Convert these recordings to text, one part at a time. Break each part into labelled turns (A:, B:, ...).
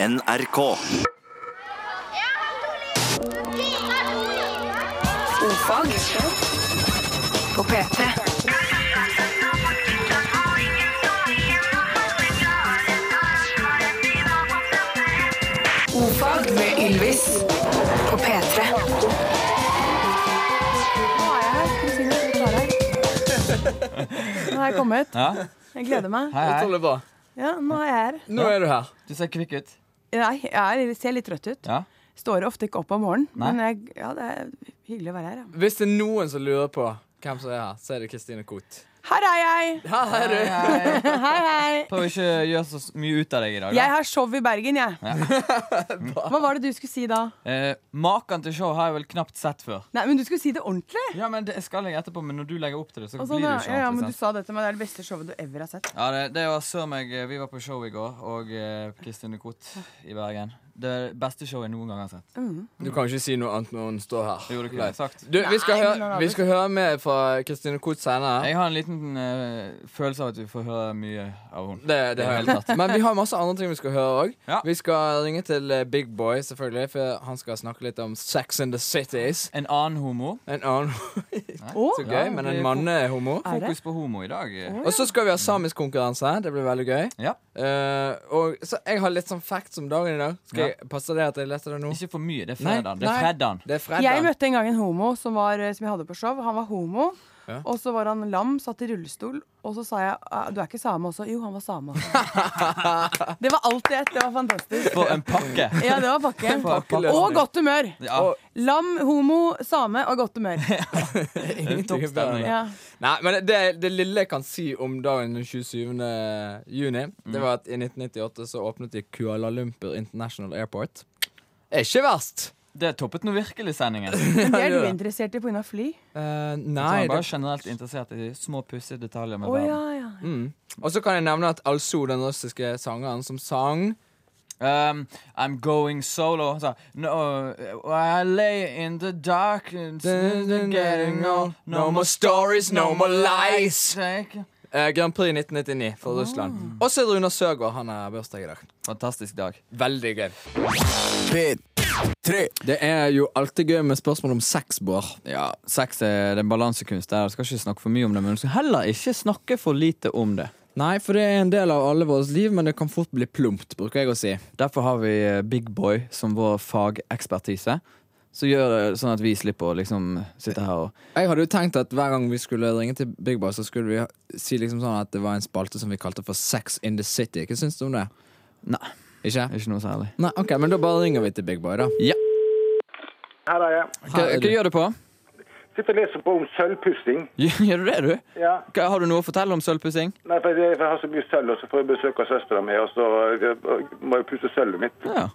A: NRK.
B: Ofag på P3. Ofag med Ylvis på P3.
C: Nå har jeg kommet.
D: Ja,
C: Jeg gleder meg.
D: hei,
E: Dette
D: hei.
E: holder bra.
C: Ja, nå er jeg her.
E: Nå er du her.
D: Du ser kvikk ut.
C: Nei, jeg er, ser litt trøtt ut.
D: Ja.
C: Står ofte ikke opp om morgenen.
D: Nei.
C: Men jeg, ja, det er hyggelig å være her. Ja.
E: Hvis det er noen som lurer på hvem som er her, så er det Kristine Koht.
C: Her er jeg!
E: Her er du.
D: Hei.
C: Hei, hei!
D: Prøv å ikke gjøre så s- mye ut av deg i dag.
C: Jeg
D: Da.
C: har show i Bergen, jeg. Hva var det du skulle si da?
D: Eh, maken til show har jeg vel knapt sett før.
C: Nei, men Du skulle si det ordentlig.
D: Ja, men Det skal jeg etterpå, men når du legger opp til det, så
C: Og
D: blir
C: sånn,
D: det
C: ja,
D: jo ikke
C: ja, ja, men
D: ordentlig.
C: du sa
D: sant?
C: dette, men det er det beste showet du ever har sett.
D: Ja, det, det var sør meg eh, Vi var på show i går, og eh, Kristin Koht i Bergen. Det er det beste showet jeg noen gang har sett.
E: Du kan ikke si noe annet når hun står her.
D: Jo, det kunne jeg sagt.
E: Du, vi, skal
C: Nei,
E: høre,
C: men han
E: vi skal høre mer fra Kristine Koht senere.
D: Jeg har en liten eh, følelse av at vi får høre mye av henne.
E: Det, det har jeg tatt. Men vi har masse andre ting vi skal høre òg.
D: Ja.
E: Vi skal ringe til eh, Big Boy, selvfølgelig, for han skal snakke litt om Sex in the Cities.
D: En annen homo.
E: En annen
C: Å,
E: Så
D: Ja,
E: gøy, men
D: det
E: en
D: er
E: mann er homo.
C: Er det?
D: Fokus på homo i dag. eh.
E: Og så skal vi ha samisk konkurranse. Det blir veldig gøy.
D: Ja.
E: Eh, og så jeg har litt sånn facts om dagen i dag. Skal jeg passe det at jeg leser det nå?
D: Ikke for mye. Det er
E: Nei,
D: fredag. Det
E: nei.
D: er fredag.
E: Det er fredag.
C: Jeg møtte en gang en homo som, var, eh, som jeg hadde på show. Han var homo.
E: Ja.
C: Og så var han lam, satt i rullestol. Og så sa jeg «Ah, du er ikke same også. Jo, han var same. Også. det var alt i ett. Det var fantastisk.
D: For en pakke.
C: Ja, det var pakken.
D: For en pakke.
C: Og godt humør.
D: Ja,
E: Og-
C: Lam, homo, same og godt humør.
E: Ingenting er bedre.
D: Toppstemning.
C: Ja.
E: Nei, men det, det lille jeg kan si om dagen den 27. juni, det var at i 1998 så åpnet de Kuala Lumpur International Airport. Er Ikke verst!
D: Det toppet nå virkelig sendingen.
C: Men det er du interessert i pga. fly?
E: Eh,
D: Så han
E: nei
D: er Sånn, bare
E: det-
D: generelt interessert i små pussige detaljer med
C: Å ja,
D: verden.
C: ja.
E: mm. Og så kan jeg nevne at Alsou, den russiske sangeren som sang
D: Um, I'm going solo. Så, no, uh, I lay in the dark and getting old.
E: No more stories, no more lies.
D: Take-
E: eh, Grand Prix 1999 for Russland. Og så er det Runar Søgaard. Han har bursdag i dag.
D: Fantastisk dag.
E: Veldig gøy. Det er jo alltid gøy med spørsmål om sex, Bård.
D: Ja, Sex er det er en balansekunst. der Jeg skal ikke snakke for mye om det, men du skal heller ikke snakke for lite om det.
E: Nei, for det er en del av alle vårt liv, men det kan fort bli plumpt, bruker jeg å si.
D: Derfor har vi eh, Big Boy som vår fagekspertise. Så gjør det sånn at vi slipper å liksom sitte her og
E: Jeg hadde jo tenkt at hver gang vi skulle ringe til Big Boss, så skulle vi ha- si liksom sånn at det var en spalte som vi kalte for Sex in the City. Hva syns du om det?
D: Nei,
E: Ikke?
D: ikke noe særlig.
E: Nei, ok, men da bare ringer vi til Big Boy, da.
D: Ja,
F: Her er jeg.
D: Hva, hva gjør du på?
F: Sitter og leser på om sølvpussing.
D: Gjør du det, du?
F: Ja.
D: Hva, har du noe å fortelle om sølvpussing?
F: Nei, for jeg, for jeg har så mye sølv, og så får jeg besøk av søstera mi, og så eh, må jeg pusse sølvet mitt.
D: Ja.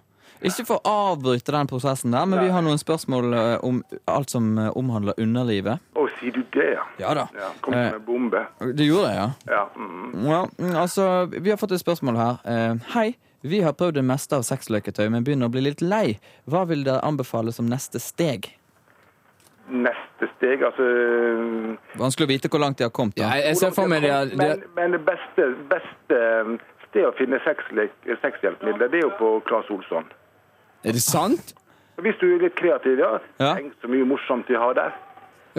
D: Ikke for å avbryte den prosessen der, men vi har noen spørsmål eh, om alt som eh, omhandler underlivet.
F: Å, sier du det, ja?
D: Ja da.
F: ja kom
E: Eh.
F: som en bombe.
D: Du gjorde det, ja?
F: Ja. Mm.
D: ja mm, altså, vi har fått et spørsmål her. Eh, Hei. Vi har prøvd det meste av sexleketøy, men begynner å bli litt lei. Hva vil dere anbefale som neste steg?
F: Neste steg, altså
D: Vanskelig å vite hvor langt de har kommet.
E: Ja,
D: da.
E: jeg, jeg ser for meg de har, de har
F: Men, men det beste, beste eh, sted å finne sexlek- sexhjelpemidler, det er jo på Claes Olsson.
E: Er det sant?
F: Hvis du er litt kreativ, ja.
D: Ja.
F: Tenk så mye morsomt de har der.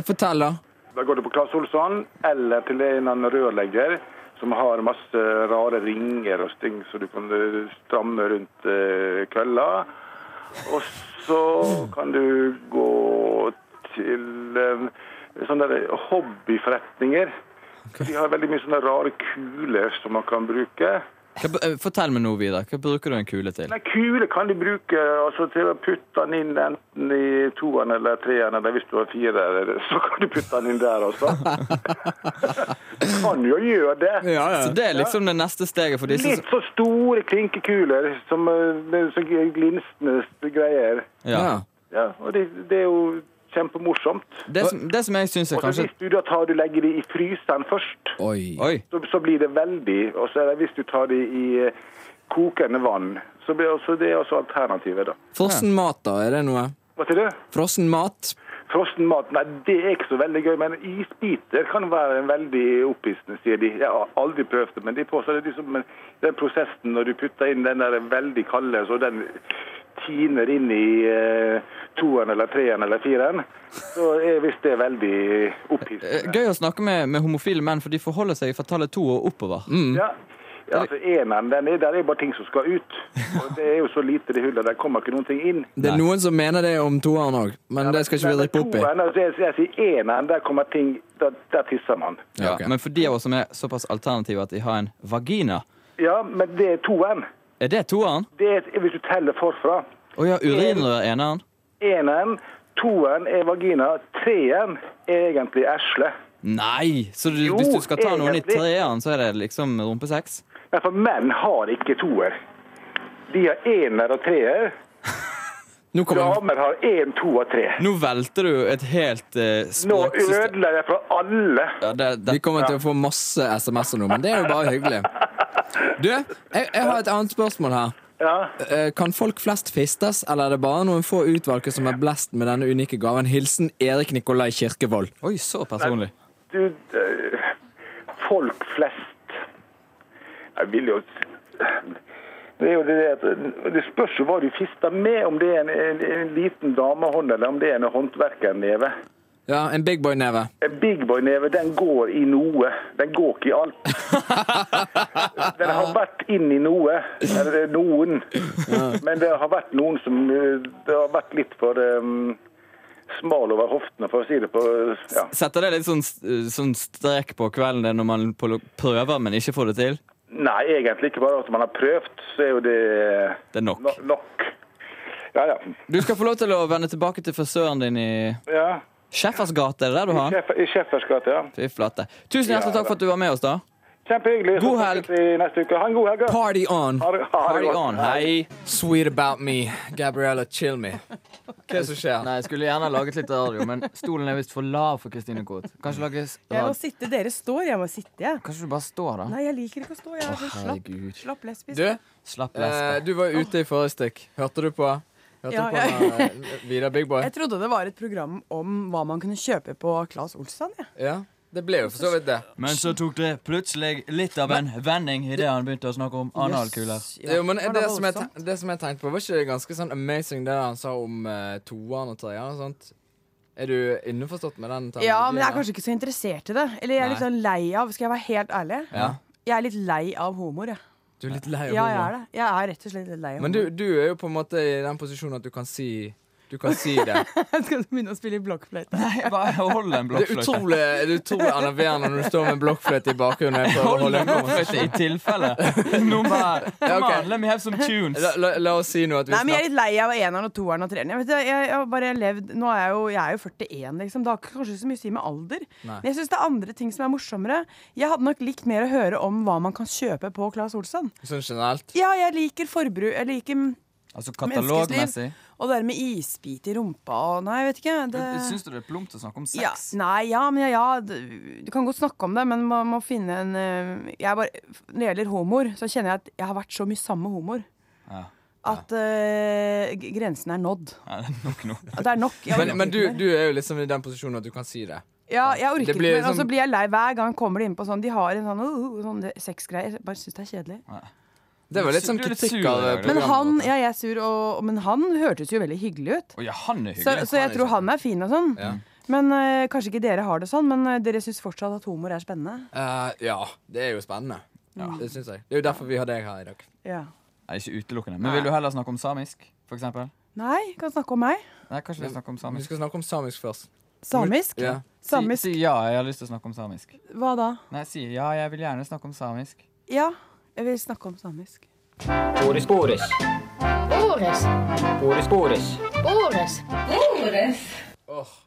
E: Fortell, da.
F: Da går du på Claes Olsson, eller til en eller annen rørlegger som har masse rare ringer og ting som du kan eh, stramme rundt eh, kølla. Og så kan du gå til eh, sånne der hobbyforretninger. De har veldig mye sånne rare kuler som man kan bruke.
D: Hva, b- eh, fortell meg noe, Vidar. Hva bruker du en kule til?
F: Nei, kule kan de bruke altså, til å putte den inn enten i toeren eller treeren, eller hvis du har fire, så kan du putte den inn der også. kan jo gjøre det.
D: Så det er liksom det neste steget for disse
F: Litt så store klinkekuler som eh, med så glinsende greier.
D: ja.
F: Ja, og det, det er jo kjempemorsomt.
D: det, som, det som jeg syns er
F: Og så
D: kanskje
F: hvis du da tar du legger det i fryseren først,
E: Oi.
D: Oi.
F: så, så blir det veldig. Og så er det hvis du tar det i eh, kokende vann, så blir også, det er også alternativet da.
E: Frossen mat, da. Er det noe?
F: Hva sier du?
E: Frossen mat?
F: Frossen mat, nei, det er ikke så veldig gøy. Men isbiter kan være en veldig opphissende, sier de. Jeg har aldri prøvd det, men de påstår det liksom, men den prosessen når du putter inn den der veldig kalde, så den tiner inn i eh, toeren eller treeren eller fireren, så er visst det veldig
D: Eh,
F: opphissende.
D: Gøy å snakke med, med homofile menn, for de forholder seg fra tallet to og oppover.
F: Ja. Ja, altså Eneren, den er, der er bare ting som skal ut. Og Det er jo så lite det hullet, der kommer ikke noen ting inn.
E: Det er noen som mener det om toeren òg, men det skal ikke vi
F: Men
E: rippe opp i.
F: toeren, altså, jeg, jeg sier eneren, der kommer ting Der, der tisser man.
E: Ja, ok.
D: Men for de av oss som er såpass alternative at de har en vagina,
F: Ja, men det er toeren.
D: er det toeren?
F: Det er, hvis du teller forfra.
D: Å ja, urinrør er eneren.
F: Eneren, toeren er vagina, treeren er egentlig esle.
D: Nei! Så du,
F: Jo,
D: hvis du skal ta noen i
F: egentlig.
D: treeren, så er det liksom rumpesex?
F: Nei, for menn har ikke toer. De har ener og treer.
E: Nå kommer
F: Damer har én, to og tre.
D: Nå velter du et helt uh,
F: Nå
D: språksystem.
F: ødela jeg for alle.
D: Ja, det, det,
E: Vi kommer til å få masse SMS-er nå, men det er jo bare hyggelig. Du, jeg, jeg har et annet spørsmål her.
F: Ja.
E: Eh, Kan folk flest fistes, eller er det bare noen få utvalgte som er blest med denne unike gaven? Hilsen Erik Nikolai Kirkevold.
D: Oi, så personlig.
F: Du eh, Folk flest Jeg vil jo det er jo det, at- eh, det spørs jo hva du fister med, om det er en, en, en liten damehånd eller om det er en håndverkerneve.
E: Ja, en big boy-neve.
F: En Eh, Big Boy-neve, den går i noe. Den går ikke i alt. Den har vært inn i noe, eller eh, noen. Men det har vært noen som eh, Det har vært litt for eh, smal over hoftene, for å si det på ja.
D: Setter det litt sånn, eh, sånn strek på kvelden det når man på- prøver, men ikke får det til?
F: Nei, egentlig ikke. Bare at man har prøvd, så er jo det eh,
D: Det er nok.
F: no nok. Ja, ja.
D: Du skal få lov til å vende tilbake til frisøren din i
F: ja.
D: Schæffers gate. Er det der du har den?
F: Schæfer- I Schæffers gate, ja.
D: Fy flate. Tusen hjertelig takk for at du var med oss, da.
F: Kjempehyggelig. Så
D: God helg.
F: snakkes vi Neste uke. Ha en god helg. da.
E: Party on!
F: Ha det- ha det
D: Party
F: godt.
D: on. Hei.
E: Sweet about me. Gabriella, chill me. Hva er det som skjer?
G: Nei, jeg skulle gjerne ha laget litt radio, men stolen er visst for lav for Kristine Koht. Kanskje lages
C: Mm. Jeg må
G: rad...
C: sitte. Dere står. Jeg må sitte, jeg.
G: Kanskje du bare står, da?
C: Nei, jeg liker ikke å stå. Jeg er så slapp, slapp lesbisk.
E: Du,
G: Slapp
E: eh,
G: lesben.
E: du var ute i forrige stikk. Hørte du på? Hørte
C: Ja,
E: du på eh, Vidar Big Boy?
C: Jeg trodde det var et program om hva man kunne kjøpe på Claes Olsson. Ja.
E: Ja, det ble jo for så vidt det.
G: Men så tok det plutselig litt av en vending idet han begynte å snakke om analkuler.
E: Jo, men
C: var da
E: det som, jeg,
C: voldsomt.
E: ten- det som jeg tenkte på, var ikke det ganske sånn amazing det han sa om uh, toeren og treeren og sånt? Er du innforstått med den terminologien?
C: Ja, men jeg er
E: da?
C: kanskje ikke så interessert i det. Eller jeg er litt
E: Nei.
C: sånn lei av Skal jeg være helt ærlig?
E: ja.
C: Jeg er litt lei av homoer, jeg.
E: Du er litt lei av
C: Ja, jeg
E: homo.
C: er det. Jeg er rett og slett litt lei av
E: Men du, du er jo på en måte i den posisjonen at du kan si Du kan si det.
C: homoer. Skal du begynne å spille i blokkfløyte?
D: Bare hold en
E: Det er
D: blokkfløyte.
E: utrolig, det er utrolig enerverende når du står med en blokkfløyte i bakgrunnen. og jeg prøver å
D: Hold
E: holde
D: en
E: en konversasjon.
D: blokkfløyte i tilfelle. Nummer.
E: Ja,
D: Come
E: ok.
D: on, let me have some tunes.
E: La, la, la oss si nå at vi
C: Nei, men jeg er
E: snakker
C: litt lei av eneren og toeren og treeren. Jeg, vet, jeg, jeg har bare levd Nå er jeg jo, jeg er jo 41, liksom. Det har ikke kanskje så mye å si med alder.
E: Nei.
C: Men jeg syns det er andre ting som er morsommere. Jeg hadde nok likt mer å høre om hva man kan kjøpe på Claes Olsson.
E: sånn generelt.
C: Ja, jeg liker forbruk. Jeg liker
D: Altså
C: menneskesliv. Og det der med isbit i rumpa og Nei, jeg vet ikke. Det...
D: Syns du det er plumpt å snakke om
C: Ja, nei, ja, men ja, ja d- Du kan godt snakke om det, men man må finne en eh, jeg bare, Når det gjelder homoer, så kjenner jeg at jeg har vært så mye sammen med homoer.
D: Ja.
C: At eh, g- grensen er nådd.
D: Nei, det er nok nå.
C: At det er nok. Jeg
E: Men,
C: orker
E: men du,
C: ikke mer.
E: du er jo liksom i den posisjonen at du kan si det.
C: ja, jeg orker
E: Det
C: ikke
E: blir
C: mer. Og
E: liksom-
C: så blir jeg lei hver gang kommer de inn på sånn De har en sånn, uh, uh, sånn sexgreier. Jeg Bare syns det er kjedelig.
E: Det var litt sånn
D: Du er litt
E: kritikk
D: sur,
E: av
D: Jørgen.
E: programmet.
C: Men han,
E: vårt.
C: ja, jeg er sur, og, men han hørtes jo veldig hyggelig ut.
D: Å ja, han er
C: Så,
D: hyggelig.
C: så jeg tror han er fin og sånn.
E: liksom- Ja.
C: Men eh, kanskje ikke dere har det sånn, men eh, dere syns fortsatt at homoer er spennende.
E: Eh, ja, det er jo spennende. Det syns jeg. Det er jo derfor vi har deg her i dag.
C: Ja.
D: Nei, ikke utelukkende. Men vil du heller snakke om samisk, for eksempel?
C: Nei, kan snakke om meg.
D: Nei, kanskje vi snakker om
E: Vi
D: samisk.
E: skal snakke om samisk først.
C: Samisk?
E: Ja.
C: Samisk,
D: Si, si ja, jeg har lyst til å snakke om samisk.
C: Hva da?
D: Nei, si ja, jeg vil gjerne snakke om samisk.
C: Ja, jeg vil snakke om samisk.
H: Boris, Boris,
I: Ores,
H: Boris, Boris.
I: ores,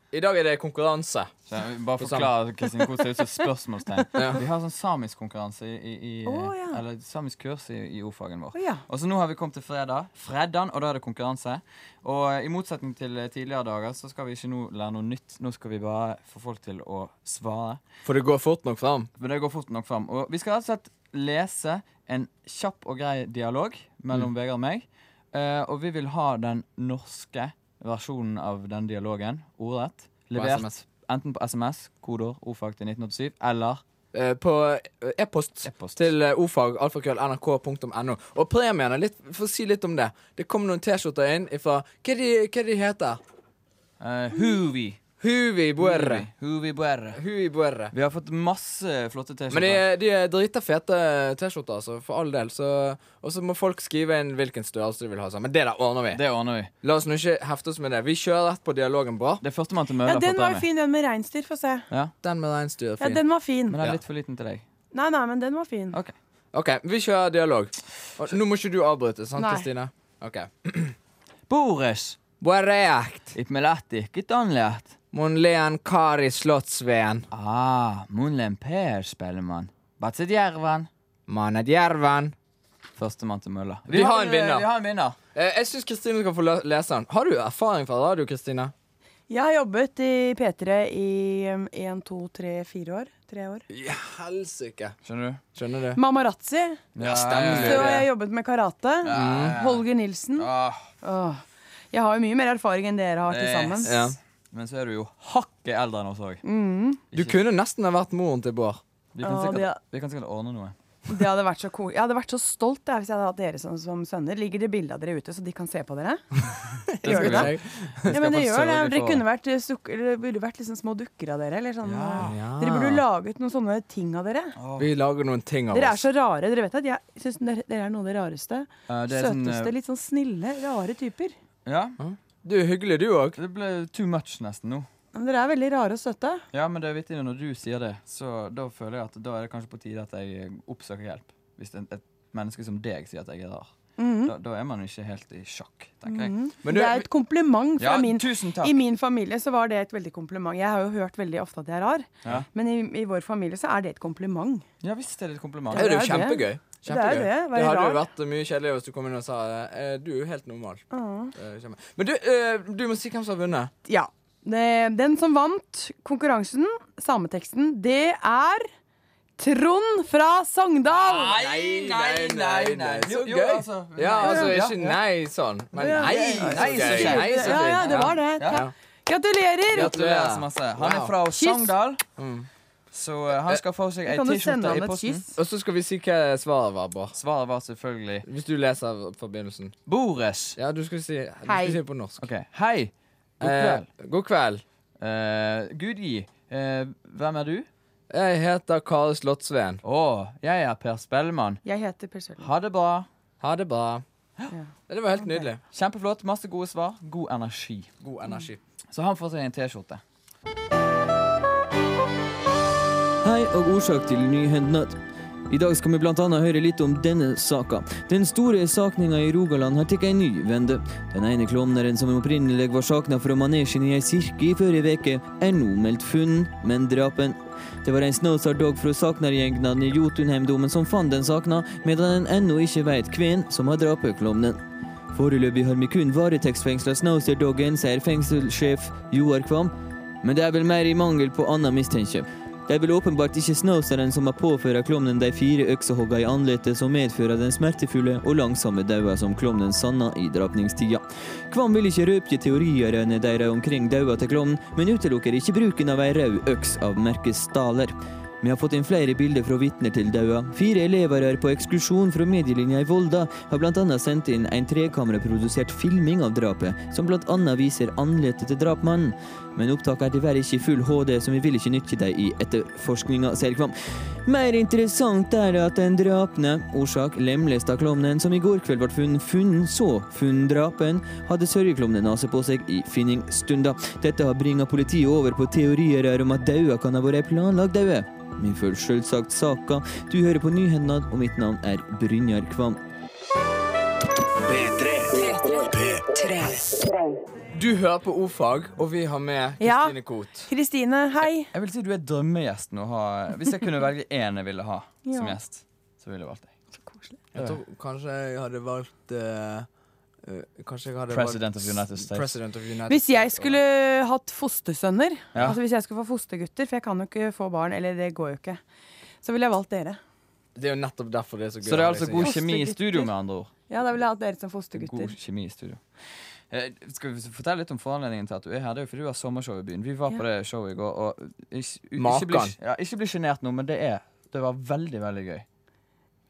E: I dag er det konkurranse.
D: Så jeg vil bare forklare Kristin Koht ser ut som et spørsmålstegn. Vi har sånn samisk konkurranse i, i, i
C: Å, ja.
D: Eller samisk kurs i, i ordfagen vår.
C: Å, ja.
D: Og så nå har vi kommet til fredag. Fredagen, og da er det konkurranse. Og eh, i motsetning til eh, tidligere dager så skal vi ikke nå lære noe nytt. Nå skal vi bare få folk til å svare.
E: For det går fort nok fram.
D: Men det går fort nok fram. Og vi skal rett og slett lese en kjapp og grei dialog mellom Vegard og meg. Eh, og vi vil ha den norske versjonen av den dialogen ordrett.
E: På
D: Levert
E: SMS.
D: enten på SMS, kodeord, ordfag til 1987, eller
E: Eh, på eh, e-post til eh, ofag alfakrøll nrk.no Og premiene, litt, for å si litt om det. Det kom noen T-skjorter inn ifra Hva de, hva de heter
D: eh, Huvi.
E: Huvi Buerre.
D: Huvi. Huvi Buerre.
E: Huvi Buerre.
D: Vi har fått masse flotte
E: Men de,
D: T-skjorter.
E: de er drita fete T-skjorter, altså, for all del. Så, og så må folk skrive inn hvilken størrelse de vil ha. sånn. Men det der ordner vi.
D: Det ordner vi.
E: La oss nå ikke hefte oss med det. Vi kjører rett på dialogen bra.
D: Det er førstemann til mølla
C: Ja,
D: får
C: den var
D: premie.
C: jo fin, den med reinsdyr. Få se.
E: Den med reinsdyr er
C: Ja,
E: fin.
C: den var fin.
D: Men den
E: Ja.
D: er litt for liten til deg.
C: Nei, nei, men den var fin.
D: Ok.
E: OK, vi kjører dialog. Og, nå må ikke du avbryte, sant,
C: Nei.
E: Kristine? OK.
D: Boris,
E: Borreakt.
D: it melatti, gitt anlert.
E: Monlen Kari Slottsveen.
D: Ah, Munlen Per, spellemann. Batset Jerven.
E: Manet Jerven.
D: Førstemann til mølla.
E: Vi har en vinner.
D: Vi har en vinner.
E: Eh, jeg syns Kristine skal få la- lese den. Har du erfaring fra radio, Kristine?
C: Jeg har jobbet i P3 i um, en, to, tre, fire år. Tre år.
E: I helsike.
D: Skjønner du?
E: Skjønner du?
C: Mamarazzi.
D: Ja, stemmer.
C: Så har jeg jobbet med karate. Mm. Holger Nilsen. Åh. Jeg har jo mye mer erfaring enn dere har til sammen.
D: Yes.
E: Ja.
D: Men så er du jo hakket eldre enn oss òg.
E: Du kunne nesten ha vært moren til Bård.
D: Vi, kan
C: Mm. Ja,
D: sikkert-
C: det-
D: vi kan sikkert ordne noe.
C: Det hadde vært så cool. Jeg hadde vært så stolt jeg, hvis jeg hadde hatt dere som, som sønner. Ligger det bilde av dere ute, så de kan se på dere? Gjør det da?
E: Jeg-
C: Ja, men det gjør
D: faktisk
C: det.
D: sørge
C: Dere
D: for-
C: kunne vært, eh, suk- eller burde vært liksom små dukker av dere. Eller sånn.
E: Ja.
C: Dere burde laget noen sånne ting av dere.
E: Vi lager noen ting av
C: Dere er
E: oss.
C: så rare. Dere vet at jeg syns dere, dere er noe av det rareste.
D: Eh, det er sånn,
C: Søteste,
D: eh,
C: litt sånn snille, rare typer.
D: Ja,
E: Du er hyggelig, du òg.
D: det ble too much nesten nå.
C: Men dere er veldig rare og søte.
D: Ja, men det er vittig når du sier det, så da føler jeg at da er det kanskje på tide at jeg eh, oppsøker hjelp. Hvis en, et menneske som deg sier at jeg er rar.
C: Mhm.
D: da, da er man ikke helt i sjakk, tenker jeg.
E: Men
C: det
E: du-
C: er et kompliment fra
D: Ja,
C: min
D: tusen takk.
C: I min familie så var det et veldig kompliment. Jeg har jo hørt veldig ofte at jeg er rar,
D: Ja.
C: men i, i vår familie så er det et kompliment.
D: Ja visst er det et kompliment.
E: Det er jo
C: det er det.
E: kjempegøy.
C: Det er jo det, være
E: Det hadde jo
C: rar.
E: vært mye kjedeligere hvis du kom inn og sa eh, du er jo helt normal. Eh, kjempe- Men du, eh, du må si hvem som har vunnet.
C: Ja. Det, den som vant konkurransen, sameteksten, det er Trond fra Sogndal!
E: Så
D: Jo, jo,
E: gøy.
D: altså,
E: ja,
D: nei.
E: altså
D: Ja,
E: ikke
D: ja.
E: nei sånn, men
C: Ja.
E: nei så
D: Nei, så
E: gøy.
D: kjekt.
E: Nei, så
C: Ja, ja,
E: fint.
C: det var det.
D: Ja.
C: Ta- Gratulerer!
D: Gratulerer så masse. Han er
E: Wow.
D: fra
C: Kyss.
D: Sogndal, så eh, han skal få seg ei
C: Kan du sende han
D: T-skjorte i
C: et
D: posten.
C: kyss?
E: Og så skal vi si hva svaret var, Bård.
D: Svaret var selvfølgelig
E: Hvis du leser forbindelsen.
D: Boris.
E: Ja, du skal si, du
C: Hei.
E: skal si det på norsk.
D: OK. Hei. God
E: Eh,
D: kveld.
E: god kveld.
D: Eh, Gud gi. Eh, hvem er du?
E: Jeg heter Kari Slottsveen.
D: Å, jeg er Per Spellemann.
C: Jeg heter Per Sølvi.
D: Ha det bra.
E: Ha det bra. Det var helt nydelig.
D: Kjempeflott. Masse gode svar. God energi.
E: God energi.
D: Så han får seg en T-skjorte.
J: Hei og årsak til nyhendnød. I dag skal vi blant annet høre litt om denne saka. Den store sakninga i Rogaland har tatt ei ny vende. Den ene klovneren som opprinnelig var sakna fra manesjen i ei kirke i forrige veke, er nå meldt funnet, men drapen. Det var en snåsar dog fra saknargjengen i Jotunheimdomen som fant den sakna, medan en ennå ikke veit hvem som har drapet klovnen. Foreløpig har vi kun varetektsfengsla Snowster-doggen, sier fengselssjef Joar Kvam. Men det er vel mer i mangel på annet mistenke. Det er vel åpenbart ikke Snowsteren som har påført klovnen de fire øksehogga i ansiktet som medfører den smertefulle og langsomme daua som klovnen sanna i drapningstida. Kvam vil ikke røpe teoriene deres omkring daua til klovnen, men utelukker ikke bruken av ei rød øks av merket Staler. Vi har fått inn flere bilder fra vitner til daua. Fire elever er på ekskursjon fra medielinja i Volda har bl.a. sendt inn en trekameraprodusert filming av drapet, som bl.a. viser ansiktet til drapmannen. Men opptaket er dessverre ikke i full HD, så vi vil ikke nytte dem i etterforskninga, sier Kvam. Mer interessant er det at den drapne, årsak lemlesta klovnen, som i går kveld ble funnet, funnet så funnet drapen, hadde sørgeklomnenase på seg i finningsstunda. Dette har bringa politiet over på teorier her om at daua kan ha vært ei planlagt daue. Vi følger selvsagt saka. Du hører på Nyhendad, og mitt navn er Brynjar Kvam.
B: Tre.
E: Du hører på O-fag, og vi har med
C: Ja.
E: Kristine Koht.
C: Kristine, hei.
D: Jeg vil si du er drømmegjesten å ha Hvis jeg kunne velge én jeg ville ha som
C: Ja.
D: gjest, så ville jeg valgt deg.
E: Jeg tror kanskje jeg hadde valgt eh, eh, Kanskje jeg hadde
D: President
E: valgt
D: of United States.
E: President of United
C: Hvis jeg
E: States.
C: skulle hatt fostersønner,
D: Ja.
C: altså hvis jeg skulle få fostergutter, for jeg kan jo ikke få barn, eller det går jo ikke, så ville jeg valgt dere.
E: Det er jo nettopp derfor det er så gøy.
D: Så det er
E: å ha deg
D: altså
E: som
D: god
E: gjest.
D: kjemi i studio, med andre ord.
C: Ja, da ville jeg hatt dere som fostergutter.
D: God kjemi i studio. Eh, skal vi fortelle litt om foranledningen til at du er her? Det er jo fordi du har sommershow i byen. Vi var
C: Ja.
D: på det showet i går, og ikke, u-
E: Makan.
D: ikke bli ja, ikke bli sjenert nå, men det er Det var veldig, veldig gøy.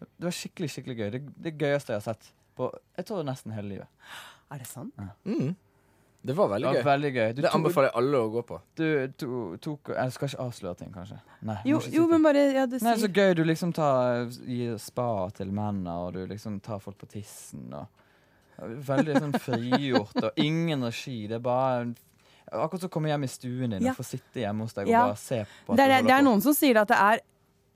D: Det var skikkelig, skikkelig gøy. Det, det gøyeste jeg har sett på jeg tror nesten hele livet.
C: Er det sant?
E: Mm. Det var
D: Det
E: veldig
D: var
E: gøy.
D: veldig gøy. Du,
E: Det
D: tok-
E: anbefaler jeg alle å gå på.
D: du to, tok Jeg skal ikke avsløre ting, kanskje. Nei, jeg
C: Jo,
D: må ikke si
C: jo
D: ting.
C: men bare ja, det
D: Nei, så
C: sier.
D: gøy du liksom tar, gir spa til mennene, og du liksom tar folk på tissen. Og, veldig sånn frigjort, og ingen regi. Det er bare en- Akkurat som å komme hjem i stuen din
C: Ja.
D: og få sitte hjemme hos deg og
C: Ja.
D: bare se på.
C: Det,
D: at du
C: er,
D: holder
C: det er
D: på.
C: noen som sier at det er,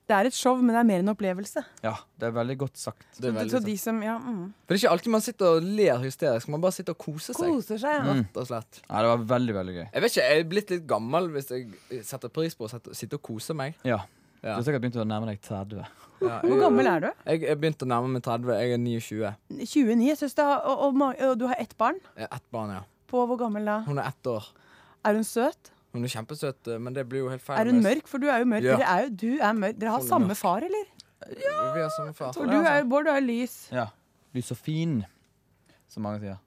C: det er et show, men det er mer en opplevelse.
D: Ja, det er veldig godt sagt.
E: Det er
C: så
E: veldig sant.
C: de som ja, mm,
E: For det er ikke alltid man sitter og ler hysterisk, man bare sitter og koser seg.
C: koser seg.
D: Mm,
C: Ja.
E: Rett og slett.
D: Ja, det var veldig, veldig gøy.
E: Jeg vet ikke, jeg er blitt litt gammel hvis jeg setter pris på å sette- sitte og kose meg.
D: Ja.
E: Ja.
D: Du har sikkert begynt å nærme deg 30.
E: Ja,
C: Hvor
E: jeg-
C: gammel er du?
E: Jeg er begynt å nærme meg 30. Jeg er 29.
C: 29, synes jeg, og, og, ma- og du har ett barn.
E: Jeg er ett barn, ja.
C: På hvor gammel da?
E: Hun er ett år.
C: Er hun søt?
E: Hun er kjempesøt, eh, men det blir jo helt feil.
C: Er hun mørk? For du er jo mørk.
E: Ja.
C: Dere, er jo, du er mørk. Dere har
E: Hun er
C: samme
E: mørk. Sånn
C: far, eller?
E: Vi har samme far.
C: For du er jo Bård, du er jo lys.
D: Ja. Lysofin, som mange sier.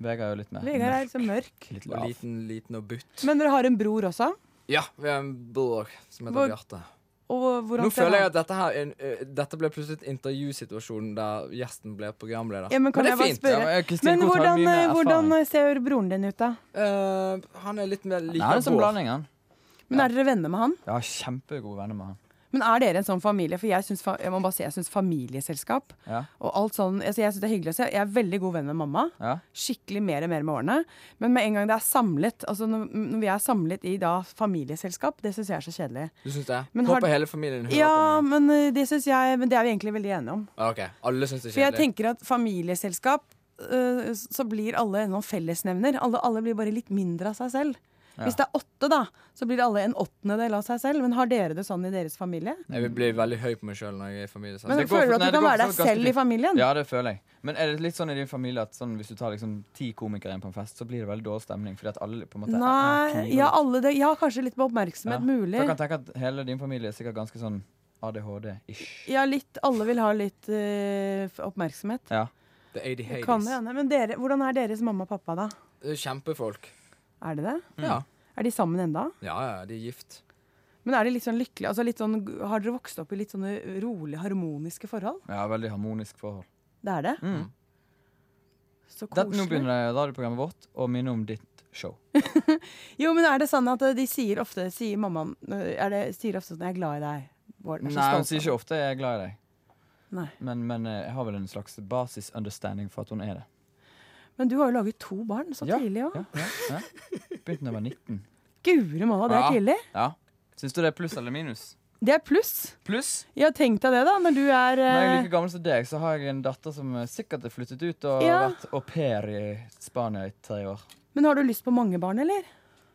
D: Vegard er jo litt mer
C: Vegard er liksom mørk.
D: Litt
E: Og
D: lav.
E: liten, liten og butt.
C: Men dere har en bror også.
E: Ja, vi har en bror som
C: Hvor-
E: heter Bjarte.
C: Og hvordan
E: Nå
C: ser
E: føler jeg
C: han-
E: at dette, her, er en- eh, dette ble plutselig et intervjusituasjon der gjesten ble programleder.
C: ja, men kan jeg
E: det er
C: bare
E: fint.
D: Ja,
C: spørre?
D: men eh, Kristin
C: men
D: Koht har
C: hvordan, eh,
D: mye mer
C: hvordan
D: erfaring.
C: ser broren din ut, da?
E: Eh, han er litt mer lik
D: Nei, han er som
E: vår.
D: blanding, han.
C: Men Er dere venner med han?
D: Jeg har kjempegode venner med han.
C: Men er dere en sånn familie? For jeg syns, fa jeg må bare si, jeg syns familieselskap
D: Ja.
C: og alt sånn altså Jeg syns det er hyggelig å se. Jeg er veldig god venn med mamma.
D: Ja.
C: Skikkelig mer og mer med årene. Men med en gang det er samlet, altså når, når vi er samlet i da familieselskap, det syns jeg er så kjedelig.
E: Du syns det?
C: Men har-
E: Håper hele familien hører
C: Ja,
E: på. nå.
C: men eh, det syns jeg Men det er vi egentlig veldig enige om.
E: Ah, Ok, Alle syns det er
C: For jeg
E: kjedelig.
C: tenker at familieselskap eh, så blir alle noen fellesnevner. Alle, alle blir bare litt mindre av seg selv. Hvis det er åtte, da, så blir alle en åttendedel av seg selv. Men har dere det sånn i deres familie?
E: Jeg vil bli veldig høy på meg sjøl når jeg er i familie.
C: Men Føler du
D: det går for-
C: at du
D: nei, det
C: kan
D: går
C: være
D: for
C: deg
D: så vidt
C: selv
D: ganske
C: i familien?
D: Ja, det føler jeg. Men er det litt sånn i din familie at sånn, hvis du tar liksom ti komikere inn på en fest, så blir det veldig dårlig stemning? Fordi at alle på en måte er- er
C: Nei,
D: kniver.
C: ja, alle det, ja, kanskje litt på oppmerksomhet.
D: Så
C: Mulig.
D: jeg kan tenke at hele din familie er sikkert ganske sånn ADHD-ish.
C: Ja, litt, alle vil ha litt eh, f- oppmerksomhet.
D: Ja.
E: Det er de
C: Kan det hende. Men dere, hvordan er deres mamma og pappa, da?
E: Kjempefolk.
C: Er det det?
D: Mm.
E: Ja.
C: Er de sammen enda?
E: ja, ja, de er gift.
C: Men er de litt sånn lykkelige? Altså litt sånn, har dere vokst opp i litt sånne rolig harmoniske forhold?
D: ja, veldig harmonisk forhold.
C: Det er det.
D: Mm.
C: Så
D: Det, nå
C: koselig.
D: begynner det radioprogrammet vårt å minne om ditt show.
C: Jo, men er det sånn at eh, de sier ofte Sier mammaen eh, er det, sier ofte sånn 'Jeg er glad i deg'. Bård, jeg er så
D: Nei, hun
C: stolt
D: sier
C: av
D: ikke ofte 'jeg er glad i deg',
C: deg». altså. Nei.
D: men, men eh, jeg har vel en slags basis-understanding for at hun er det.
C: Men du har jo laget to barn så
D: Ja,
C: tidlig òg.
D: Ja, ja, ja. Begynte da jeg var 19.
C: Guri malla, det er
D: Ja.
C: tidlig.
D: Ja. Syns du det er pluss eller minus?
C: Det er pluss.
D: Pluss!
C: Ja, tenk deg det, da. Når du er
D: Når jeg er
C: eh,
D: like gammel som deg, så har jeg en datter som eh, sikkert er flyttet ut og
C: Ja.
D: vært au pair i Spania i tre år.
C: Men har du lyst på mange barn, eller?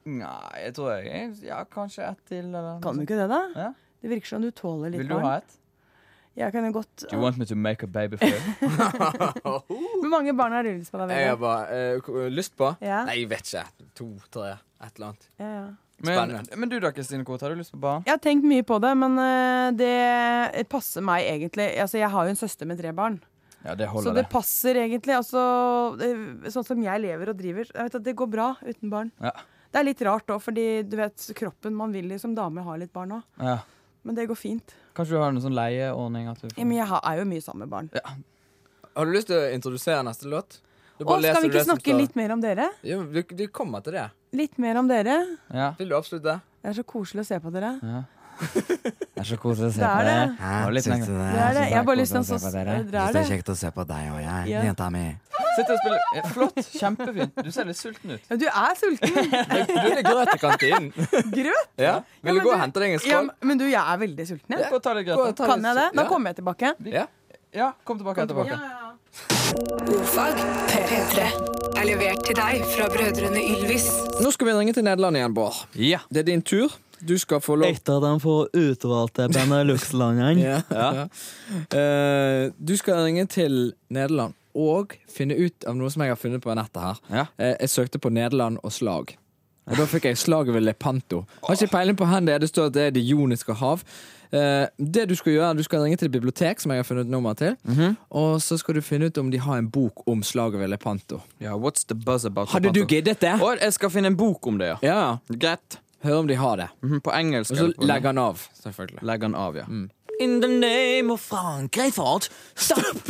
D: Nei, jeg tror jeg Ja, kanskje ett til, eller noe
C: Kan du
D: sånt.
C: ikke det, da?
D: Ja.
C: Det virker som du tåler litt
D: Vil du ha
C: barn.
D: et?
C: Jeg kan jo godt
D: Do you want me to make a baby for you?
C: Hvor mange barn har du lyst på? da,
E: Jeg har
C: Vegard?
E: bare eh, k- lyst på
C: Ja.
E: Nei, jeg vet ikke. To-tre. Et eller annet.
C: Ja, ja.
D: men,
E: Spennende.
D: men du da, Kristine Koht, har du lyst på barn?
C: Jeg har tenkt mye på det, men eh, det passer meg egentlig. Altså, jeg har jo en søster med tre barn,
D: Ja, det
C: så det, passer egentlig. Altså, eh, sånn som jeg lever og driver, jeg vet at det går bra uten barn.
D: Ja.
C: Det er litt rart òg, fordi du vet, kroppen man vil jo som dame ha litt barn òg.
D: Ja.
C: Men det går fint.
D: Kanskje du har en sånn leieordning? At du
C: Ja, men jeg har- er jo mye sammen med barn.
E: Har du lyst til å introdusere neste låt? Du
C: Og skal
E: leser
C: vi
E: det
C: ikke
E: som
C: snakke
E: står.
C: litt mer om dere?
E: Jo, du, du kommer til det.
C: Litt mer om dere.
D: ja.
E: Vil du avslutte?
C: Det er så koselig å se på dere.
D: Det er så koselig å se
C: Det
D: på
C: er
D: det.
C: det.
D: Og litt lenger.
C: Det er det. Jeg har bare lyst til å se på dere. Det er det.
K: kjekt å se på deg og jeg,
C: Ja.
K: jenta mi.
D: Sitt og spill. Ja, flott. Kjempefint. Du ser litt sulten ut.
C: Ja, du er sulten.
E: Du, du vil ha grøt i kantinen.
C: Grøt?
E: Ja. Vil
C: men
E: du gå
C: du-
E: og hente deg en
C: Ja,
E: skål?
C: men du, jeg er veldig sulten. Jeg.
D: Gå og ta litt
E: Gå og
D: grøt.
E: ta
C: Kan
E: litt-
C: jeg det? Da
E: Ja.
C: kommer jeg tilbake.
E: Ja.
D: Ja, kom tilbake etterpå.
B: Ordfag P3 er levert til deg fra brødrene Ylvis.
E: Nå skal vi ringe til Nederland igjen, Bård.
D: Ja.
E: Det er din tur. Du skal få lov
J: Et av de få utvalgte Benelux-landene.
E: Ja. Eh, du skal ringe til Nederland og finne ut av noe som jeg har funnet på nettet her.
D: Ja.
E: Eh, jeg søkte på Nederland og slag. Ja, Da fikk jeg slaget ved Lepanto. Har ikke peiling på hvor det er. Det står at det er Det joniske hav. Eh, det Du skal gjøre, du skal ringe til et bibliotek, som jeg har funnet nummer til. Og så skal du finne ut om de har en bok om slaget ved Lepanto.
D: Ja, what's the buzz about
E: Hadde du
D: Lepanto?
E: giddet det?
D: Å, jeg skal finne en bok om det, ja.
E: Ja,
D: Greit.
E: Hør om de har det.
D: Mhm, På engelsk.
E: Og
D: eller
E: så
D: på-
E: legger han av. Selvfølgelig.
D: legger han Mm. av, ja.
J: In the name of Frank Reifert, stopp!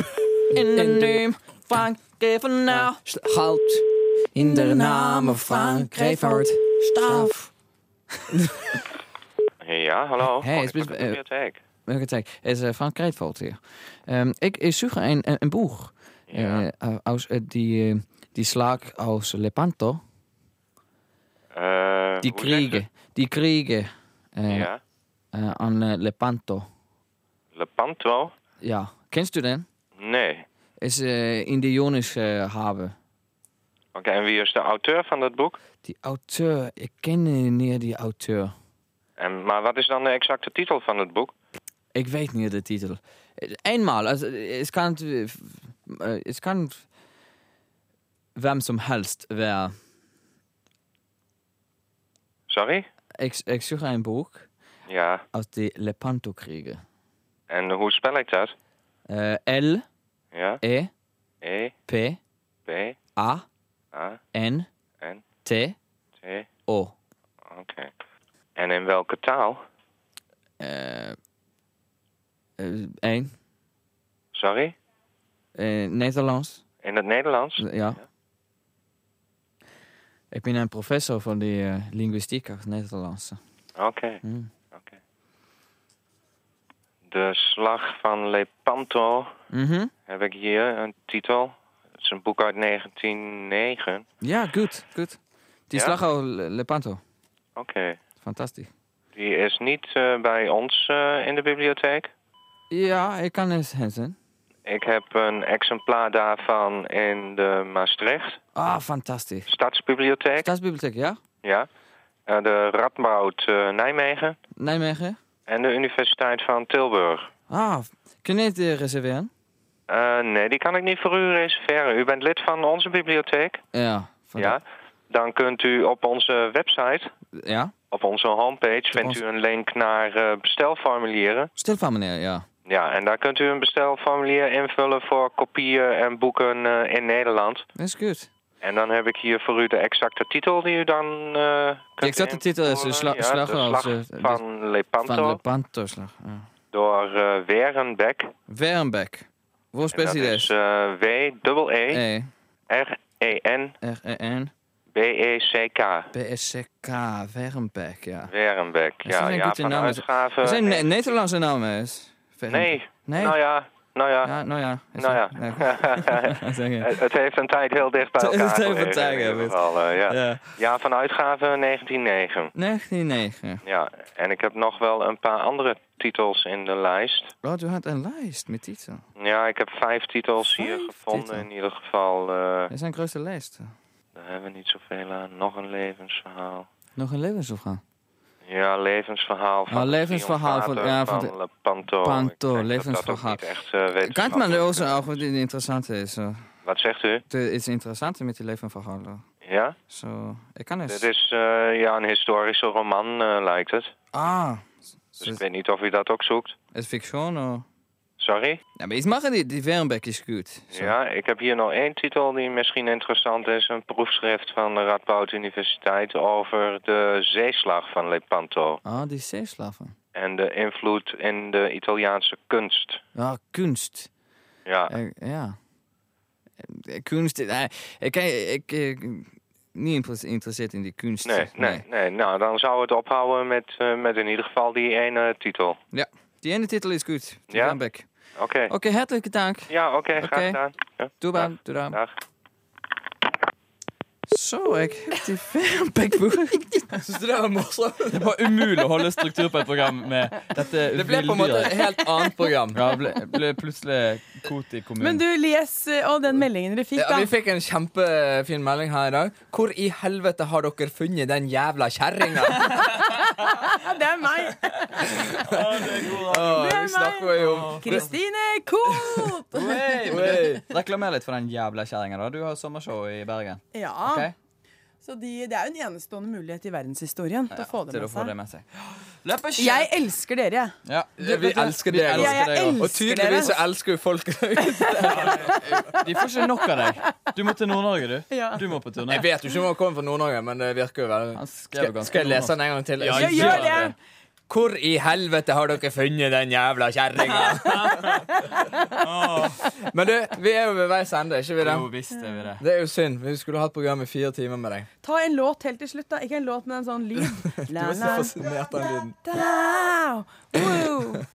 D: In
E: the name
J: Frank Reifert now.
E: Halt. In the name of Frank Reifert.
J: Stopp!
K: Ja, hallo.
D: Hey, het is-
K: Volgens mij
D: eh,
K: bibliotheek.
D: Welke tijd? Is eh, Frank Reitvold hier. Ehm, ik, ik zoek een, een, een boek.
K: Ja.
D: Eh, als, eh, die, eh, die slaak als Lepanto.
K: Eh,
D: Die
K: hoe zeg je
D: kriegen. Die kriegen
K: het?
D: eh,
K: Ja.
D: eh, aan eh, Lepanto.
K: Lepanto?
D: Ja. Kent u den?
K: Nee.
D: Is eh, in de Jonische haven.
K: Oké, en wie is de auteur van dat boek?
D: Die auteur, ik ken eh, niet die auteur.
K: En, maar wat is dan de exacte titel van het boek?
D: Ik weet niet de titel. Eh, Eenmaal, als, eh, het kan, eh, eh, het kan wem som helst være.
K: Sorry?
D: Ik, ik zoek een boek.
K: Ja.
D: als de Lepanto-krigen.
K: En hoe spel ik dat?
D: Eh, L,
K: Ja.
D: E,
K: E,
D: P,
K: B,
D: A,
K: A,
D: N,
K: N,
D: T,
K: T. Oké.
D: O.
K: En in welke taal?
D: Eh, eh, één.
K: Sorry?
D: Eh, Nederlands.
K: In het Nederlands?
D: Eh, Ja. Ik ben een professor van de eh, linguïstiek als Nederlandse. Hm.
K: Oké. Oké. De slag van Lepanto
D: Mhm.
K: heb ik hier een titel. Het is een boek uit 1909.
D: Ja, goed, goed. Die
K: Ja?
D: slag al Le- Lepanto.
K: Oké.
D: Fantastisch.
K: Die is niet eh, bij ons eh, in de bibliotheek.
D: Ja, ik kan eens Hansen.
K: Ik heb een exemplaar daarvan in de Maastricht
D: Ah, fantastisch.
K: Stadsbibliotheek.
D: Staatsbibliotheek, ja?
K: ja. Eh, de Radboud eh, Nijmegen
D: Nijmegen.
K: en de Universiteit van Tilburg.
D: Ah, kun je het eh, reserveren?
K: Eh, nee, die kan ik niet voor u reserveren. U bent lid van onze bibliotheek.
D: Ja. van-
K: Ja. Dan kunt u op onze website,
D: Ja?
K: op onze homepage, vindt u een link naar eh, bestelformulieren.
D: Stil van meneer, ja.
K: Ja, en daar kunt u een bestelformulier invullen voor kopieën en boeken eh, in Nederland.
D: Dat is goed.
K: En dan heb ik hier voor u de exacte titel die u dan eh kunt
D: De exacte titel is, eh,
K: invoeren.
D: sla-
K: ja,
D: slag
K: de
D: als,
K: slag
D: eh,
K: van Lepanto
D: Van Lepanto-slag. Ja.
K: door eh Werenbeck.
D: Werenbeck. Hvor
K: En dat
D: spes
K: is
D: is?
K: eh
D: E,
K: W-E-R-E-N-B-E-C-K.
D: R, E, N,
K: E
D: B, S, C, K. Werenbeck, ja.
K: Werenbeck,
D: Er zijn
K: ja,
D: een
K: ja,
D: goede
K: van
D: namen.
K: uitgave...
D: Er zijn ne Nederlandse namen, is. Werenbeck.
K: Nee,
D: Nee?
K: nou ja, nou ja,
D: Ja, nou ja.
K: nou ja.
D: Zeg je.
K: het, het heeft een tijd heel dicht bij
D: Het
K: elkaar
D: heeft een
K: gelegen,
D: tijd,
K: in
D: ja,
K: ieder
D: goed.
K: geval, eh, ja.
D: Ja.
K: ja, van uitgave 1909.
D: 1999.
K: Ja, en ik heb nog wel een paar andere titels in de lijst.
D: Oh, du had een lijst met titel.
K: Ja, ik heb vijf titels hier
D: Vijf
K: gevonden
D: titels?
K: in ieder geval. eh,
D: Dat zijn grootste lijst.
K: daar hebben we niet zoveel aan. Nog een levensverhaal.
D: Nog een levensopgaan.
K: Ja, levensverhaal van...
D: Ah, levensverhaal van- ja, van
K: van,
D: de-
K: Panto.
D: Panto,
K: Ik denk dat dat ook
D: levensverhaal.
K: niet echt, eh,
D: Kan man
K: wetenschappelijk
D: ook
K: is.
D: ook wat interessant is? eh.
K: Wat zegt u?
D: Er is interessant met die levensverhalen.
K: Ja?
D: Zo, ik kan
K: Dit
D: eens.
K: is eh, ja, een historische roman, eh, lijkt het.
D: Ah,
K: Dus ik weet niet of u dat ook zoekt.
D: is fiction of...
K: Sorry?
D: eh, Ja, maar ik mag het niet. Die Werenbeck is goed. Zo.
K: Ja, ik heb hier nog één titel die misschien interessant is. Een proefschrift van de Radboud Universiteit over de zeeslag van Lepanto.
D: Ah, die zeeslaven.
K: En de invloed in de Italiaanse kunst.
D: Ja, kunst.
K: Ja,
D: Eh, ja. Eh, Kunst... eh, ik, eh, ik, eh, niet inter- interesseerd in die kunst.
K: nee, nee, nee. Nou, dan zou het ophouden met, eh, met in ieder geval die ene titel.
D: Ja. Die ene titel is goed. Die
K: Ja?
D: Werenbeck.
K: Oké.
D: Oké, hartelijk dank.
K: Ja, oké, graag
D: Oh. Oké.
K: gedaan. Ja.
D: Doe
K: Dag.
D: dan, doe dan.
K: Dag.
D: Zo, ik heb die Werenbeck-boek.
E: Syns du det var morsomt?
D: Det var umulig å holde struktur på et program med dette
E: Det ble på en måte et helt annet program.
D: Ja, ble, ble plutselig kot i kommunen.
C: Men du, les eh, og den meldingen du fikk,
E: Ja,
C: da.
E: vi fikk en kjempefin melding her i dag. Hvor i helvete har dere funnet den jævla kjerringa?
C: Ja, det er meg!
E: Åh,
C: Det er
E: vi snakker jo om
C: Kristine Koht!
D: Hey, men du, Reklamer litt for den jævla kjerringa, da. Du har sommershow i Bergen.
C: Ja.
D: ok?
C: Så de, det er jo en enestående mulighet i verdenshistorien til å få det
D: Til å
C: med
D: få
C: seg.
D: det med seg. Løpeskjær!
C: Jeg elsker dere.
D: ja,
E: Vi elsker
D: vi
E: deg.
D: elsker
C: Ja, jeg
D: deg også.
E: Og
C: dere.
E: tydeligvis så elsker jo folk
D: De får ikke nok av deg. Du må til Nord-Norge, du.
C: Ja.
D: Du må på turné.
E: Jeg vet jo ikke om han kommer fra Nord-Norge, men det virker jo veldig
D: Han skrev
E: Skal,
D: ganske
E: skal jeg lese
D: nordnorsk.
E: den en gang til?
D: Ja,
C: Ja, gjør det!
E: Hvor i helvete har dere funnet den jævla kjerringa? Men du, vi er jo ved veis ende, ikke vi det?
D: Jo visst er vi det.
E: Det er jo synd. Vi skulle hatt program i fire timer med deg.
C: Ta en låt helt til slutt, da. Ikke en låt med en sånn lyd. La,
E: Du er
C: la,
E: så fascinert av den lyden.
C: da. Woo.